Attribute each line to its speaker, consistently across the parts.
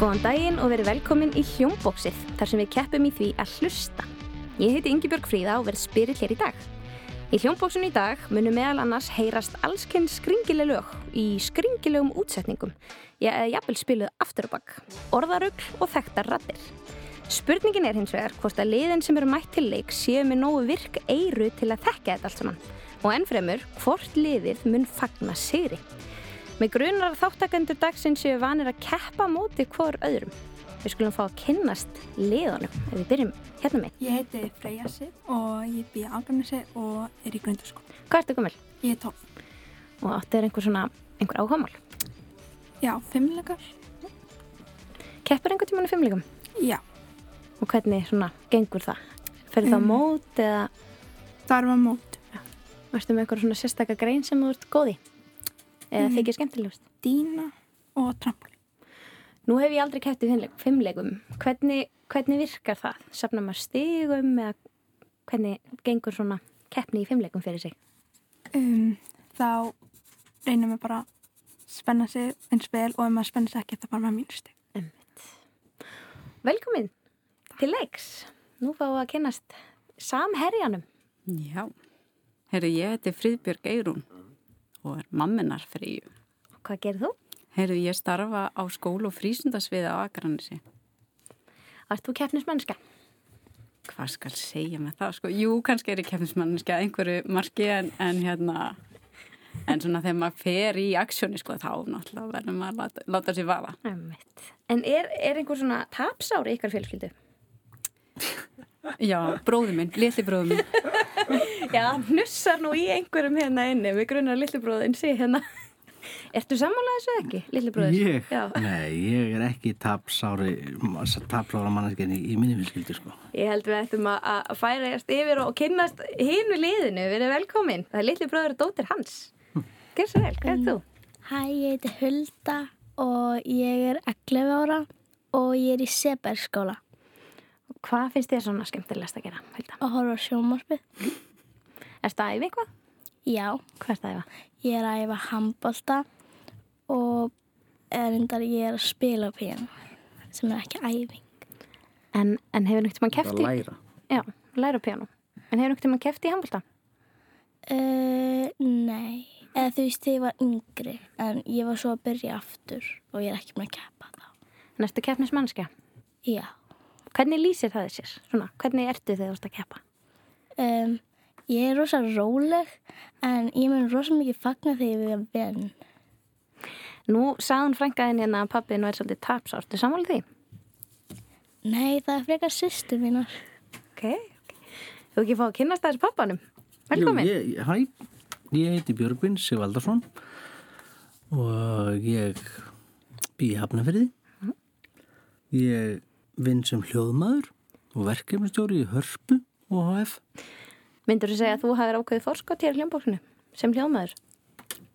Speaker 1: Góðan daginn og verið velkomin í Hljómbóksið, þar sem við keppum í því að hlusta. Ég heiti Ingibjörg Fríða og verð spyrill hér í dag. Í Hljómbóksinu í dag munum meðal annars heyrast allskenn skringileg lög í skringilegum útsetningum, ég eða jafnvel spiluð afturubakk, orðarugl og þekktar rattir. Spurningin er hins vegar hvort að liðin sem eru mætt til leik séu með nógu virk eiru til að þekka þetta allt saman og ennfremur hvort liðið mun fagna sigri. Með grunar að þáttakendur dagsins séu vanir að keppa á móti hvor öðrum. Við skulum fá að kynnast liðanum ef við byrjum hérna með.
Speaker 2: Ég heiti Freyja Sif og ég býð Algarnesi og er í grundaskóla.
Speaker 1: Hvað ertu gömul?
Speaker 2: Ég er 12.
Speaker 1: Og áttu er einhver svona, einhver áhámál.
Speaker 2: Já, fimmleikar.
Speaker 1: Keppur einhver tíman í fimmleikum?
Speaker 2: Já.
Speaker 1: Og hvernig svona gengur það? Fyrir það á
Speaker 2: Mm.
Speaker 1: mót eða
Speaker 2: Þar var mót.
Speaker 1: varstu með einhver svona sérstakka grein sem þú ert góð í? Eða
Speaker 2: Mm.
Speaker 1: þykir skemmtilegust?
Speaker 2: Dína og trampolín.
Speaker 1: Nú hef ég aldrei keppt í fimmleik- fimmleikum. Hvernig, hvernig virkar það? Safnar maður stigum eða hvernig gengur svona keppni í fimmleikum fyrir sig?
Speaker 2: Um, þá reynum við bara að spenna sig eins vel og ef maður spenna sig ekki þá bara maður mínusti.
Speaker 1: Velkomin til leiks. Nú fáum við að kynast samherjanum.
Speaker 3: Já, herru, ég heiti Fríðbjörg Eirún og er mamminar fríu.
Speaker 1: Og Hvað gerir þú?
Speaker 3: Herru, ég starfa á skólu og frísundasviði á Akranesi.
Speaker 1: Ert þú keppnismennska?
Speaker 3: Hvað skal segja með það? Sko, jú, kannski er ég kemnismanniski að einhverju marki en, en hérna, en svona þegar maður fer í aksjóni, sko, þá náttúrulega verður maður að láta, láta sér vaða.
Speaker 1: Æmitt. En er, er einhver svona tapsári ykkar fjölskyldu?
Speaker 3: Já, bróður minn, litli bróður minn.
Speaker 1: Já, hnussar nú í einhverjum hérna inni. Við grunar lillibróðin sé hérna. Ertu sammála þessu eða ekki, lillibróður?
Speaker 4: Ég?
Speaker 1: Já,
Speaker 4: Nei, ég er ekki tapsári, tapsára manneskjarni í minni vinskildi, sko.
Speaker 1: ég held við ættum að, að færa erst yfir og kynnast hinu liðinu. Við erum velkomin. Það er lillibróður og dóttir hans. Gerð svo vel, hvað er þú?
Speaker 5: Hæ, ég heiti Hulda og ég er 11 ára og ég er í Seberskóla
Speaker 1: Hvað finnst þér svona skemmtilegast að gera? Hulda?
Speaker 5: og horfa á sjónvarpið.
Speaker 1: Ertu að æfa eitthvað?
Speaker 5: Já,
Speaker 1: Hvað ertu að æfa?
Speaker 5: ég er að æfa handbolta og er endar ég er að spila á píano sem er ekki æfing.
Speaker 1: En, en hefur einhvern tímann keft í...
Speaker 6: læra.
Speaker 1: Já, læra piano. En hefur einhvern tímann keft í handbólta?
Speaker 5: Uh, nei, eða þú veist þegar ég var yngri en ég var svo að byrja aftur og ég er ekki með að keppa þá.
Speaker 1: Næstu keppnismannskja.
Speaker 5: Já,
Speaker 1: Hvernig lýsir það þér sér? Svona, hvernig ertu þegar þú ert að keppa?
Speaker 5: um, ég er rosa róleg en ég mun rosa mikið fagna þegar ég er venn.
Speaker 1: Nú sagðan frænkaðin hérna að pappin var svolítið tapsártu sammála því.
Speaker 5: Nei, það er frekar sýstu mínar.
Speaker 1: Ok, ok. Þú ekki fá að kynnast þessu pappanum. Velkomin.
Speaker 4: Jú, ég- Hæ, ég heiti Björgvin Sivaldarsson og ég bý í Hafnafyrði.
Speaker 1: Mhm.
Speaker 4: Ég vinn sem hljóðmaður og verkefnistjóri í Hörpu og HF.
Speaker 1: Myndur þú segja að þú hafið ákveðið forskot hér í hljómbóksinu sem hljómaður?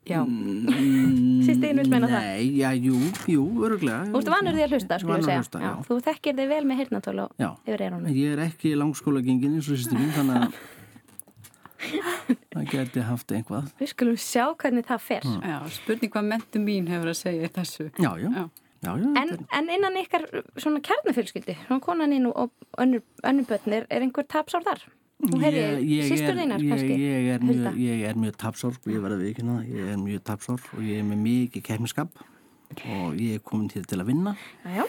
Speaker 3: Já,
Speaker 1: Sýsti einu vil meina það.
Speaker 4: Mm, Nei, já, jú, jú, öruglega.
Speaker 1: Þú ert vanur því að hlusta, skulum við segja.
Speaker 4: Vanur að hlusta, já.
Speaker 1: Þú þekkir þig vel með hirtnatól og
Speaker 4: Já.
Speaker 1: yfir eyrunum.
Speaker 4: Ég er ekki langskóla gengin eins og sýsti mín, þannig að það geti haft einhvað.
Speaker 1: Við skulum sjá hvernig það fer.
Speaker 4: Mm.
Speaker 3: já, spurning hvað mentu mín hefur að segja í þessu.
Speaker 4: Já, já,
Speaker 3: Já.
Speaker 4: já, já, þetta
Speaker 1: En, en innan ykkar svona kjarnafjölskyldi, svona konaninn og og önnur, önnur börnir, er einhver tapsár þar? Þú
Speaker 4: Ég-
Speaker 1: heyrði
Speaker 4: ég
Speaker 1: sýstur
Speaker 4: er-
Speaker 1: þínar
Speaker 4: ég-
Speaker 1: kannski?
Speaker 4: ég er mjög-
Speaker 1: Hulda.
Speaker 4: ég er mjög tapsár sko, ég verði að vikina það, ég er mjög tapsár og ég er með mikið kemmiskap og ég er komin hér til að vinna
Speaker 1: Jæja.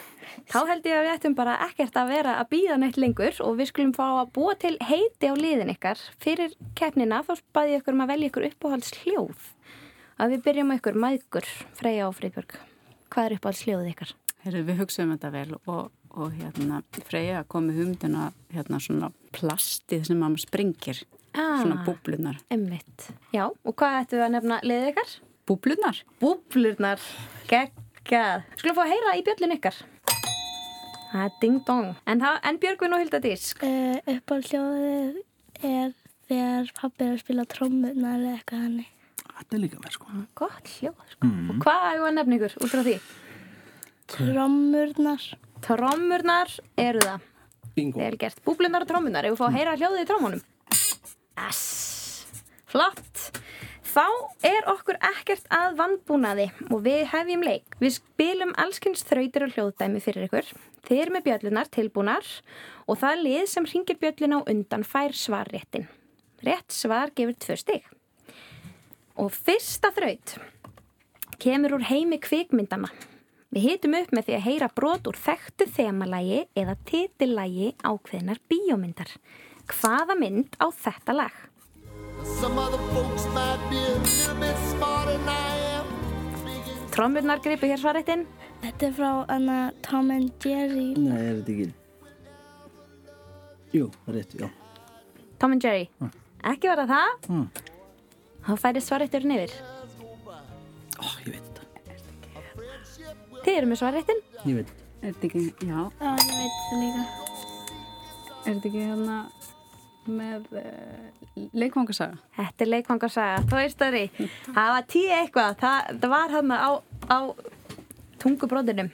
Speaker 1: Þá held ég að við ættum bara ekkert að vera að býða neitt lengur og við skulum fá að búa til heiti á liðin ykkar. Fyrir keppnina þá bæði ég ykkur um að velja ykkur uppáhalds hljóð. Að við byrjum á ykkur mæðgur, Freyja og Friðbjörg. Hvað er uppáhalds hljóðið ykkar?
Speaker 3: Herru, við hugsaðum þetta vel og, og hérna, Freyja kom með humdina hérna svona plastið sem maður springir, svona
Speaker 5: Ah.
Speaker 3: búblunar.
Speaker 1: Emmitt. Já, og hvað ættum við að nefna liðið ykkar?
Speaker 3: Búblunar?
Speaker 1: Búblurnar Gekkað Skulum fá að heyra í bjöllin ykkar Það er ding dong En, það- en Björgvin og Hilda Dís
Speaker 5: Uh, Uppáhaldljóðið er þegar pappi er að spila trommuna eða eitthvað hannig.
Speaker 4: Þetta er líka með sko
Speaker 1: Gott hljóð sko. Og hvað er að nefna ykkur út frá því?
Speaker 5: Trommurnar.
Speaker 1: Trommurnar eru það
Speaker 4: Bingo
Speaker 1: Vel gert Mm. Búblurnar og trommurnar Ef við fá að heyra hljóðið í trommunum Ass Flott Þá er okkur ekkert að vannbúnaði og við hefjum leik. Við spilum allskynns þrautir og hljóðdæmi fyrir ykkur. Þið eru með bjöllunar tilbúnar og það lið sem ringir bjölluna á undan fær svarréttin. Rétt svar gefur tvö stig. Og fyrsta þraut kemur úr heimi kvikmyndana. Við hitum upp með því að heyra brot úr þekktu þemalægi eða titillægi ákveðnar bíómyndar. Hvaða mynd á þetta lag?
Speaker 6: Some other folks might be a little bit smarter than I am.
Speaker 1: Trommurnar gripu hér svarréttin.
Speaker 5: Þetta er frá Anna Tom and Jerry.
Speaker 4: Nei, eh, er þetta ekki? Jú, rétt, já.
Speaker 1: Tom and Jerry ekki vera það
Speaker 4: Mm.
Speaker 1: þá færi svarrétturinn yfir
Speaker 4: Ó, ég veit þetta.
Speaker 1: þið eru með svarréttin
Speaker 4: Ég veit þetta.
Speaker 3: Er þetta ekki, já,
Speaker 5: Já, ég veit það líka.
Speaker 3: er þetta ekki hérna með uh, leikvangasaga?
Speaker 1: þetta er leikvangarsaga, Toy Story það var tíu eitthvað það, það var hann á, á tungubróðinum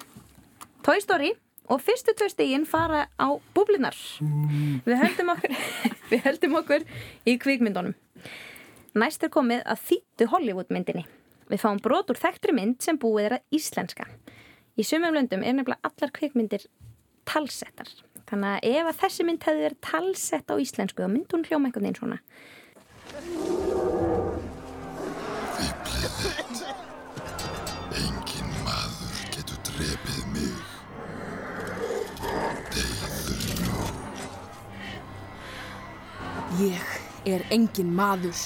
Speaker 1: Toy Story og fyrstu tvö stígin fara á búblinar við höldum okkur við höldum okkur í kvikmyndunum Næst er komið að þýttu Hollywoodmyndinni. Við fáum brot úr þekktri mynd sem búið er að íslenska. Í sumum löndum er nefnilega allar kvikmyndir talsettar. Þannig að ef að þessi mynd hefði verið talsett á íslensku þá myndi hún hljóma einhvern veginn svona.
Speaker 7: Engin maður getur drepið mig.
Speaker 8: Ég er engin maður.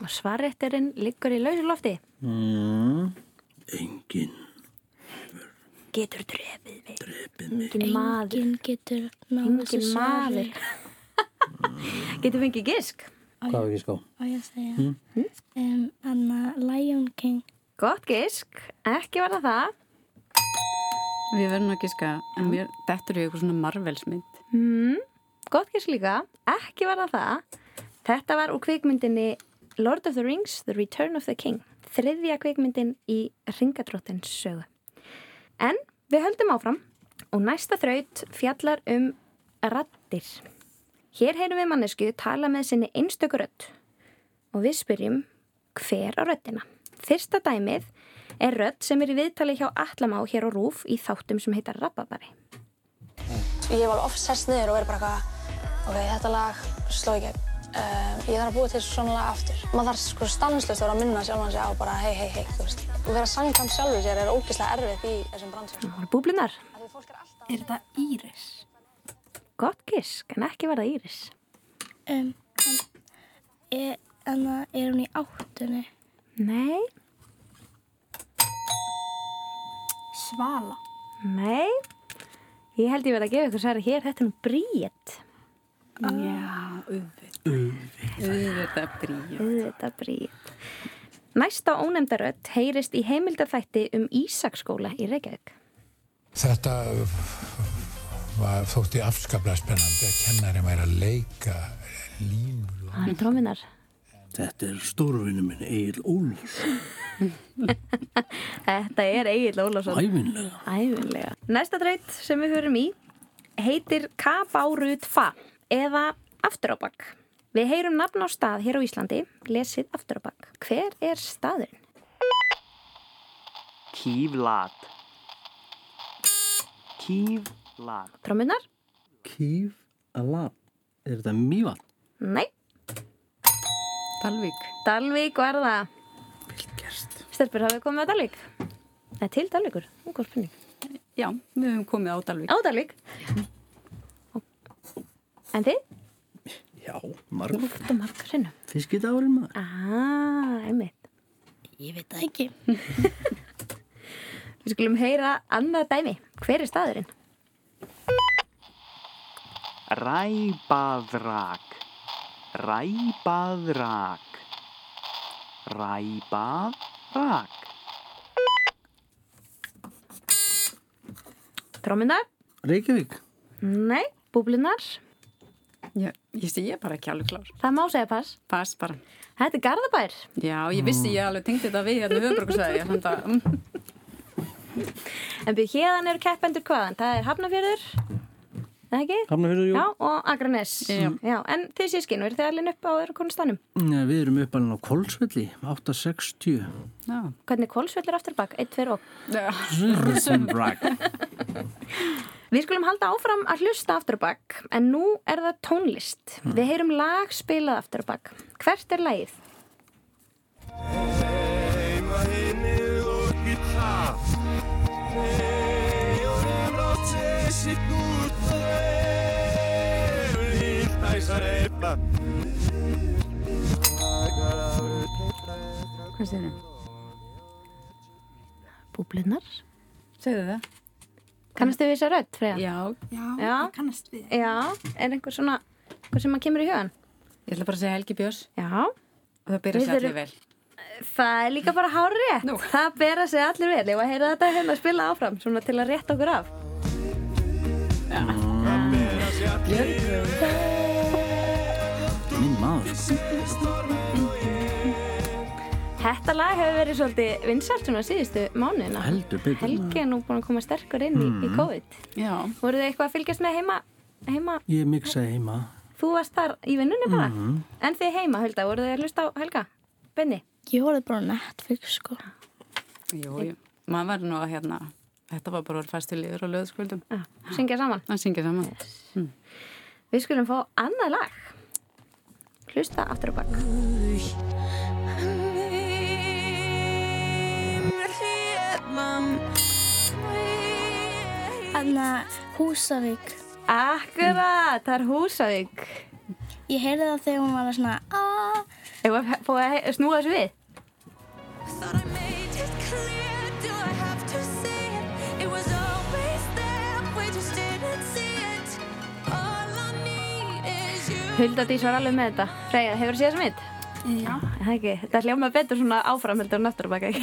Speaker 1: Og svarretturinn liggur í lausu lofti.
Speaker 4: Mm, Engin
Speaker 1: Getur drefið mig.
Speaker 4: drefið mig.
Speaker 1: Engin maður.
Speaker 5: Enginn getur náðu
Speaker 1: Engin maður. Getur fengið gisk.
Speaker 4: Hvað var ekki sko? ská?
Speaker 5: Á ég að segja. Mm. Anna Lion King.
Speaker 1: Gott gisk. Ekki var það það.
Speaker 3: Við verðum að giska, en mér dettur í eitthvað svona marvelsmynd.
Speaker 1: Mm, Gott gisk líka. Ekki var það það. Þetta var úr kvikmyndinni Lord of the Rings, The Return of the King. Þriðja kvikmyndin í ringadróttins sögu. En við höldum áfram og næsta þraut fjallar um rattir. Hér heyrum við mannesku tala með sinni einstöku rödd og við spyrjum hver á röddina. Fyrsta dæmið er rödd sem er í viðtali hjá Allamá hér á Rúf í þáttum sem heitar Rababari.
Speaker 9: Ég var alveg oft sest niður og verið bara eitthvað, ok, þetta lag sló í gegn. Um, ég þarf að búa til svona lag aftur. Maður þarf sko stanslust að vera að minna sjálfan sig á bara hei, hei, hei, þú veist. Og vera sangkvæmt sjálfur sér er ógeðslega erfitt í þessum bransu.
Speaker 1: Það voru búblinar.
Speaker 9: Því fólk er alltaf...
Speaker 2: Er þetta Íris?
Speaker 1: Gott gisk, en ekki var það Íris.
Speaker 5: Um, en, Anna er hún í áttunni.
Speaker 1: Nei,
Speaker 2: Svala.
Speaker 1: nei. Ég held ég verið að gefa ykkur særi hér, þetta er nú bríett.
Speaker 5: Ah.
Speaker 3: Já, auðvitað. Auðvitað bríja.
Speaker 1: Þetta bríett. Næsta ónefndarödd heyrist í heimildarþætti um Ísaksskóla í Reykjavík.
Speaker 10: Þetta var, þótti afskaplega spennandi að kennarinn væri að leika línur og
Speaker 1: Það er tróminar.
Speaker 4: Þetta er stórvinni minn Egil Ólfs.
Speaker 1: Þetta er Egil Ólafsson.
Speaker 4: Ævinlega.
Speaker 1: Æfinlega. Næsta draut sem við höfum í heitir Kabárutfa eða Afturábak. Við heyrum nafn á stað hér á Íslandi, lesið Afturábak. Hver er staðurinn?
Speaker 11: Kýflat. Kýflat.
Speaker 1: Trómunar?
Speaker 4: Kýf alab. Er þetta mývat?
Speaker 1: Nei.
Speaker 3: Dalvík.
Speaker 1: Dalvík var það.
Speaker 4: Gerst.
Speaker 1: Stelpur, hafið þið komið á Dalvík? Nei, til Dalvíkur. Nú, hvað spurning.
Speaker 3: Já, við höfum komið á Dalvík.
Speaker 1: Á Dalvík. En þið?
Speaker 4: Já, margur.
Speaker 1: Þetta margur sinnum.
Speaker 4: Fiskidagurinn maður.
Speaker 1: Ah, einmitt.
Speaker 5: Ég veit það ekki.
Speaker 1: Við skulum heyra annað dæmi. Hver er staðurinn?
Speaker 11: Ræbaðrak. Ræbaðrak. Ræbaðrak.
Speaker 1: Trómunar?
Speaker 4: Reykjavík.
Speaker 1: Nei. Búblinar?
Speaker 3: Já, ég sé, ég er bara ekki alveg klár.
Speaker 1: Það má segja pass.
Speaker 3: Pass bara.
Speaker 1: Þetta er Garðabær.
Speaker 3: Já, ég vissi ég alveg tengdi þetta við hérna höfbrukusæði. Þannig að mm,
Speaker 1: En byrju, hérðan eru keppendur hvaðan? Það er Hafnafjörður, eða ekki?
Speaker 4: Hafnarfjörður, jú.
Speaker 1: Já, og Akranes. Já, en þið sískinn, verður þið allir upp á öðru konstanum?
Speaker 4: Nei, Mm, við erum uppalinn á Kolsvelli, 860.
Speaker 1: Já. Hvernig kólsvellir aftur bakk? 1, 2 og...
Speaker 4: Rosenbrag.
Speaker 1: Við skulum halda áfram að hlusta afturbakk, en nú er það tónlist. Við heyrum lag spilað afturbakk. Hvert er lagið?
Speaker 3: Hvað segir þau?
Speaker 1: Búblunar.
Speaker 3: Segðu það.
Speaker 1: Kannast þið við þessa rödd, Freyja?
Speaker 3: Já.
Speaker 1: Já, ég kannast við. Já, er einhver svona, hvað sem að kemur í hugan?
Speaker 3: Ég ætla bara að segja Helgi Björns.
Speaker 1: Já. Og
Speaker 3: það byrja sér allir vel.
Speaker 1: Það er líka bara hár rétt. Það ber að segja allir vel. Ég var að heyra þetta hérna að spila áfram, svona til að rétta okkur af.
Speaker 4: Minn maður.
Speaker 1: Þetta lag hefur verið svolítið vinsalt svona síðustu mánuðina.
Speaker 4: Heldur betur.
Speaker 1: Helgi er nú búin að koma sterkur inn í, í
Speaker 4: Mm.
Speaker 1: COVID. Já. Voruð þið eitthvað að fylgjast með heima? heima?
Speaker 4: Ég miksaði heima.
Speaker 1: Þú varst þar í vinnunni bara.
Speaker 4: Mhm.
Speaker 1: En þið heima, Hulda, voruð þið að hlusta á Helga? Benni?
Speaker 5: Ég horfði bara á Netflix sko.
Speaker 3: Jú, jú. Maður var nú að hérna, þetta var bara að vera fast til yfir og löðskvöldum.
Speaker 1: Já, syngja saman.
Speaker 3: Að syngja saman. Mm.
Speaker 1: Við skulum fá annað lag. Hlusta aftur á bak.
Speaker 5: Anna Húsavík.
Speaker 1: Akkurat, það er Húsavík.
Speaker 5: Ég heyrði það þegar hún var svona aaa.
Speaker 1: Ég var að fá að snúa þessu við. Hulda Dís var alveg með þetta. Freyja, hefur þú séð þessa mynd?
Speaker 2: Já.
Speaker 1: Það ekki, þetta hljóma betur svona áfram heldur en aftur á bak, ekki?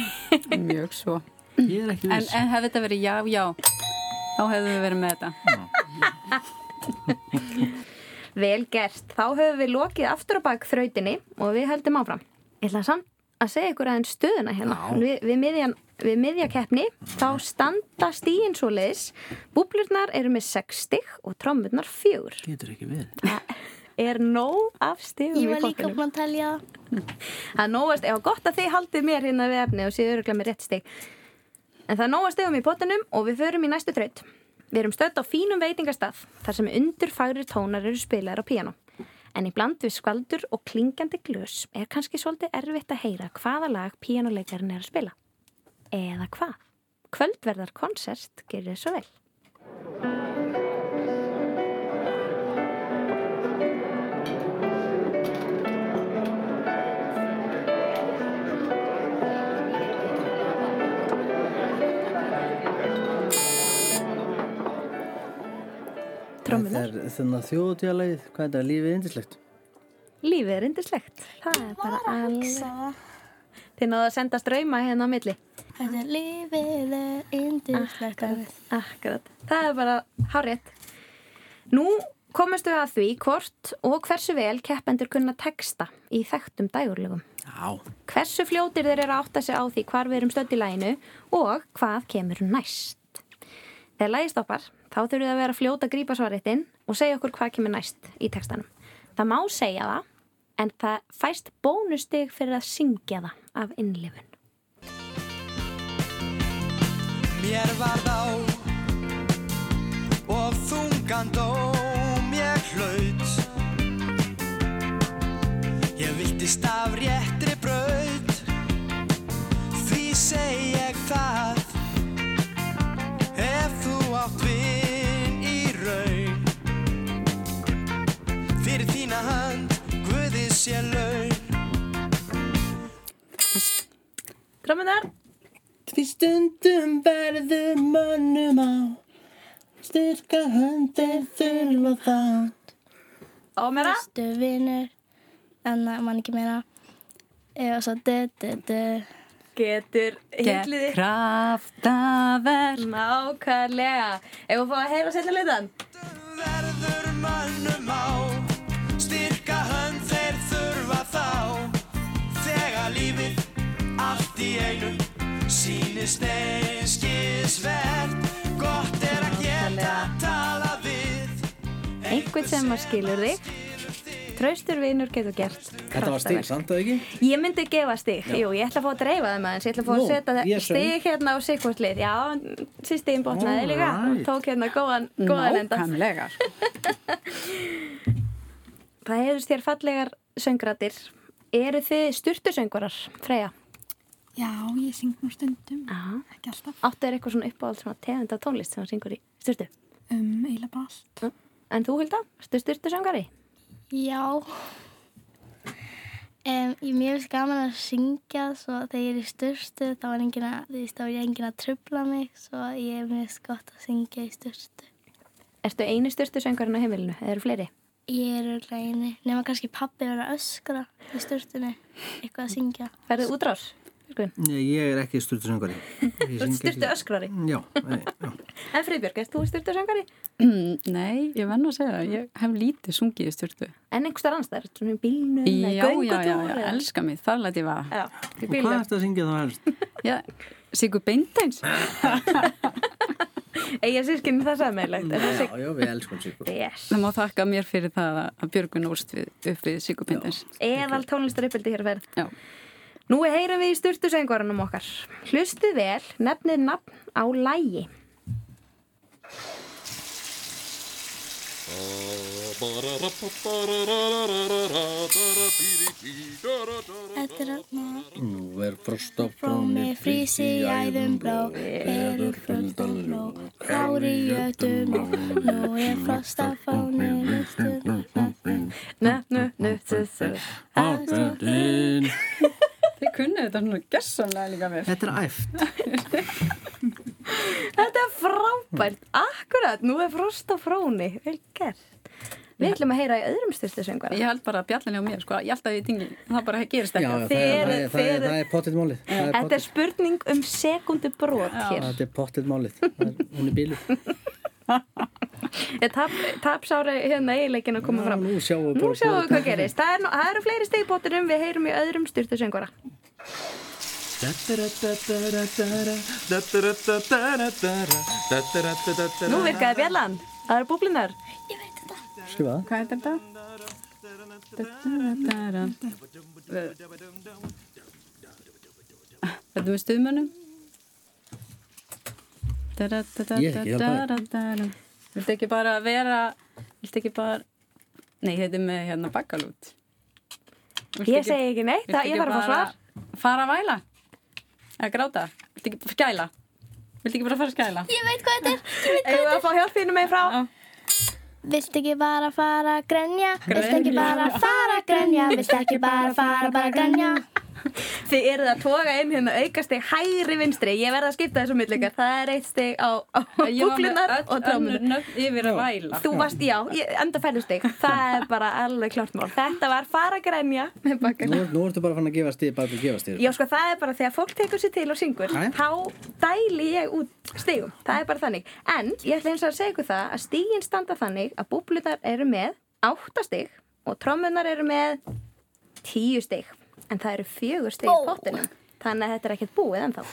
Speaker 3: Mjög svo.
Speaker 4: Ég er ekki
Speaker 3: En, en hefði þetta verið já, já, þá hefðum við verið með þetta.
Speaker 1: Vel gert, þá höfum við lokið aftur á bak þrautinni og við heldum áfram. Ég ætla samt að segja ykkur aðeins stöðuna hérna.
Speaker 5: Já.
Speaker 1: Við, við, miðjan, við miðjakeppni, þá standa stíin svo leiðis. Búblurnar eru með 6 stig og trommurnar 4.
Speaker 4: Getur ekki við.
Speaker 1: Er nóg af stigum
Speaker 5: Ég var líka
Speaker 1: pottinum.
Speaker 5: búin að telja það.
Speaker 1: Það er nógast, eða gott að þið haldið mér hérna við efni og séu öruglega með rétt stig. En það er nógast efum í pottinum og við förum í næstu þraut. Við erum stödd á fínum veitingastað, þar sem undurfagrir tónar eru spilaðar á píano. En í bland við skvaldur og klingandi glös er kannski svolítið erfitt að heyra hvaða lag píanoleikarinn er að spila. Eða hvað? Kvöldverðar konsert gerir þið svo vel.
Speaker 4: Trommunar. Þetta er þannig að þjóðutjálegið, hvað er þetta, lífið indislegt?
Speaker 1: Lífið er indislegt. Það er bara alveg. Þið náðu að senda ströyma hérna á milli.
Speaker 5: Þetta er lífið er indislegt.
Speaker 1: Akkurat. Það er bara hárétt. Nú komumstu að því hvort og hversu vel keppendur kunna texta í þekktum dægurlögum.
Speaker 4: Já.
Speaker 1: Hversu fljótir þeir eru að átta sig á því hvar við erum stödd í læginu og hvað kemur næst. Þegar lægi stoppar, þá þurfum við að vera fljóta að grípa svarréttin og segja okkur hvað kemur næst í textanum. Það má segja það, en það fæst bónustig fyrir að syngja það af innlifun.
Speaker 12: Mér varð á og þungan dóm ég hlaut Ég viltist af réttri braut Því seg ég það Ef þú átt vinn í raun Fyrir þína hand Guðis ég laun
Speaker 1: Drömmunar
Speaker 4: Því stundum verður mönnum á Styrka höndir þurfa þá
Speaker 1: Og meira?
Speaker 5: Bestu vinnur. Anna, mann ekki meira. Eh, Og svo dö, dö, dö.
Speaker 1: Getur
Speaker 5: Hylliði.
Speaker 1: kraftaverk. Nákvæmlega. Ef við fáum að heyra setja litan.
Speaker 12: verður mönnum á Styrka hönd þeir þurfa þá Þegar lífið allt í einu Sýnist einskis verð Gott er að geta tala við
Speaker 1: einhvern sem að skilur þig Traustur vinur getur gert
Speaker 4: Þetta var stíl,
Speaker 1: kraftaverk.
Speaker 4: samt að ekki?
Speaker 1: Ég myndi gefa stig,
Speaker 4: Já.
Speaker 1: jú, ég ætla að fá að dreifa þeim aðeins, ég ætla að fá að
Speaker 4: Nú,
Speaker 1: setja
Speaker 4: ég söng.
Speaker 1: stig hérna á sikkvort lið, já, síst stigin botnaði
Speaker 3: All
Speaker 1: líka,
Speaker 3: right.
Speaker 1: tók hérna góðan, góðan enda.
Speaker 3: Nákvæmlega, sko.
Speaker 1: Það hefðust þér fallegar söngratir, eru þið styrtusöngvarar, Freyja?
Speaker 2: Já, ég syng nú stundum,
Speaker 1: Aha.
Speaker 2: ekki alltaf.
Speaker 1: Áttu er eitthvað svona uppáhald svona tegunda tónlist sem það syngur í styrtu?
Speaker 2: Um, eiginlega bara allt.
Speaker 1: En þú, Hilda, ertu styrtusöngari?
Speaker 5: Já. Um, ég mér finnst gaman að syngja svo þegar ég er í styrstu þá var enginn að, þú veist, þá var ég enginn að trubla mig svo ég er mjög gott að syngja í styrstu.
Speaker 1: Ertu eini styrtusöngarinn á heimilinu, eða eru fleiri?
Speaker 5: Ég er úrlega eini, nema kannski pappi var að öskra í styrstunni, eitthvað að syngja.
Speaker 1: Færðu útrás?
Speaker 4: Nei, ég er ekki styrtu söngari.
Speaker 1: Styrtu öskrari?
Speaker 4: Já, nei, já.
Speaker 1: En Friðbjörg, erst þú styrtusöngari?
Speaker 3: Nei, ég venn að segja það. Ég hef lítið sungið í styrtu.
Speaker 1: En einhverstað annars, það er svona í bílnum,
Speaker 3: Já, já, já, já,
Speaker 1: göngutúr, eða-
Speaker 3: elska mig, þar læt ég vaða.
Speaker 1: Já, í
Speaker 4: Og hvað
Speaker 1: bílnum.
Speaker 4: ertu að syngja þá helst?
Speaker 3: Já, Sigur Beinteins.
Speaker 1: Egið sískinni það sammeilegt.
Speaker 4: Já, já, við elskum Sigur.
Speaker 1: Yes.
Speaker 3: Það má þakka mér fyrir það að- að Björgun úrst við, upp við Sigur Beinteins.
Speaker 1: Eðal tónlistaruppeldi hér verð.
Speaker 3: Já.
Speaker 1: Nú heyrum við í styrtusengvarunum okkar. Hlustið vel, nefnið nafn á lægi.
Speaker 5: Þetta er að
Speaker 4: Nú er frost á
Speaker 5: Blómi frýs í æðum blá, veður fullt af bló, klári jötum á, nú er frost að fáni, listur að
Speaker 1: Nö, nö, nö, þu, þu.
Speaker 4: Átundin.
Speaker 3: Þið kunnu þetta svona gessamlega líka mér.
Speaker 4: Þetta er æft.
Speaker 1: Þetta er frábært, akkurat, nú er frost á fróni, vel gert. Við ætlum að heyra í öðrum styrtusengvarum.
Speaker 3: Ég held bara að bjallinni á mér, sko, ég held að ég tingi, það bara gerist ekki.
Speaker 4: Já, það er, það er, það er, það er pottet málið. Það er
Speaker 1: Þetta er
Speaker 4: pottet-
Speaker 1: spurning um sekundu brot hér.
Speaker 4: Þetta er pottet málið. Það er- Hún er bílu.
Speaker 1: Ég Tap, tapsára hérna eiginleikin að koma fram.
Speaker 4: Nú sjáum við
Speaker 1: Nú sjáum við hvað gerist. Það, er, nú- það eru fleiri stig í bóttinum, við heyrum í öðrum styrtusengvara. Nú virkaði bjallan. Það eru búblinar.
Speaker 4: Skrifa
Speaker 3: Hvað heitir þetta? Þetta er með stuðmönnum.
Speaker 4: Ég er ekki hjálpaður.
Speaker 3: Viltu ekki bara vera, viltu ekki bara, nei, þetta er með hérna bakkalút. Viltu
Speaker 1: Ég segi ekki neitt,
Speaker 3: viltu
Speaker 1: það- ég
Speaker 3: ekki
Speaker 1: þarf að fá
Speaker 3: bara Fara að væla, eða gráta, viltu ekki bara skæla, viltu ekki bara fara að skæla?
Speaker 5: Ég veit hvað þetta er, ég veit
Speaker 1: Eða að fá hjálp þínu með frá.
Speaker 5: Viltu ekki bara fara að grenja, viltu ekki
Speaker 1: Grenja.
Speaker 5: bara fara að grenja, viltu ekki bara fara bara að grenja.
Speaker 1: Þið eruð að toga inn hérna aukast í hægri vinstri. Ég verða að skipta þessu millikar. Það er eitt stig á, á
Speaker 3: Ég var með
Speaker 1: búblinar
Speaker 3: öll
Speaker 1: og trámunar.
Speaker 3: önnur nöfn yfir að væla.
Speaker 1: Þú varst, já, ég, enda færðustig. Það er bara alveg klart mál. Þetta var fara grænja með
Speaker 4: Nú,
Speaker 1: bakkala.
Speaker 4: er- nú ertu bara fann að gefa stið, bara til að gefa stið.
Speaker 1: Já, sko, það er bara þegar fólk tekur sér til og syngur, þá dæli ég út stigum. Það er bara þannig. En ég ætla eins og að segja ykkur það að stigin standa þannig að búblunar eru með átta stig og trommunar eru með tíu stig. En það eru fjögur stig í pottinum. Þannig að þetta er ekkert búið ennþá.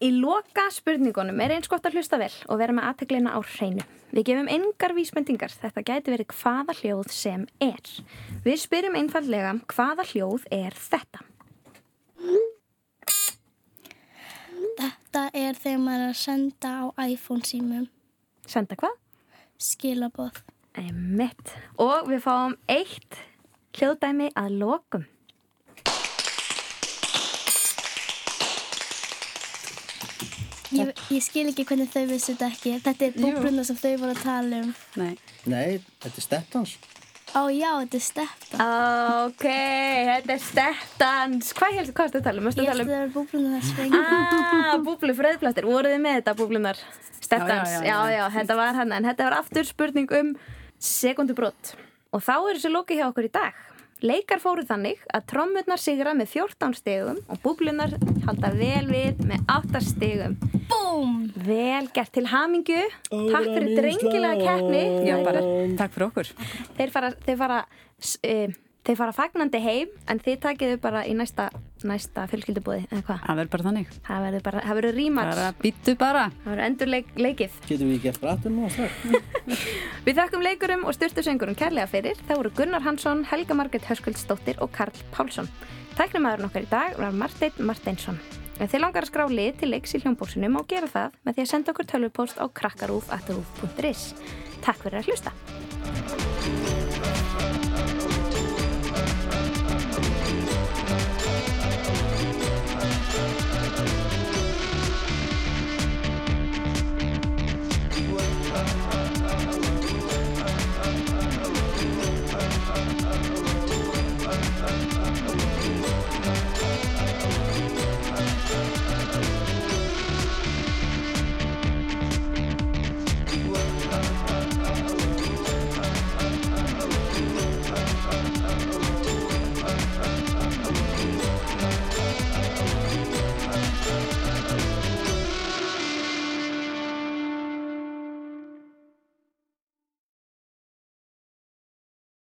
Speaker 1: Í loka spurningunum er eins gott að hlusta vel og vera með aðteglina á hreinu. Við gefum engar vísmyndingar, þetta gæti verið hvaða hljóð sem er. Við spyrjum einfallega hvaða hljóð er þetta.
Speaker 5: Þetta er þegar maður er að senda á iPhone símum,
Speaker 1: Senda hvað?
Speaker 5: skilaboð.
Speaker 1: Einmitt. Og við fáum eitt hljóðdæmi að lokum.
Speaker 5: Ég, ég skil ekki hvernig þau vissu þetta ekki. Þetta er búbrunna sem þau voru að tala um.
Speaker 3: Nei.
Speaker 4: Nei, þetta er stepptans.
Speaker 5: Ó já, þetta er stepp.
Speaker 1: Ok, þetta er stettans. Hvað heldur, hvað ertu að tala um? Varstu
Speaker 5: Ég
Speaker 1: að
Speaker 5: held
Speaker 1: tala um?
Speaker 5: að það var búbrunna þess vegna.
Speaker 1: Ah, búblu fröðplastir. Voruð þið með þetta búblunar? Stettans, já
Speaker 5: Já,
Speaker 1: já,
Speaker 5: já, já, já.
Speaker 1: þetta var hann. En þetta var aftur spurning um sekundubrott. Og þá er þessu lokið hjá okkur í dag. Leikar fóru þannig að trommurnar sigra með 14 stegum og búblunar halda vel við með 8 stegum.
Speaker 5: Búm!
Speaker 1: Vel gert til hamingju. Takk fyrir drengilega keppni.
Speaker 3: Já, bara, takk fyrir okkur.
Speaker 1: Þeir fara, þeir fara s- eh, Þeir fara fagnandi heim en þið takið þau bara í næsta, næsta fjölskyldubóði eða hvað?
Speaker 3: Það verður bara þannig.
Speaker 1: Það verður bara, það verður rímats.
Speaker 3: Bara býttu bara.
Speaker 1: Það verður endur leik, leikið.
Speaker 4: Getum við gert brattum og strax?
Speaker 1: Við þakkum leikurum og styrtusöngurum kærlega fyrir. Það voru Gunnar Hansson, Helga Margrét Höskuldsdóttir og Karl Pálsson. Tæknumæðurinn okkar í dag var Marteinn Marteinsson. Ef þið langar að skrá lið til leiks í hljómbóksunum og gera það með því að senda okkur tölvupóst á krakkarúf.is. Takk fyrir að hlusta.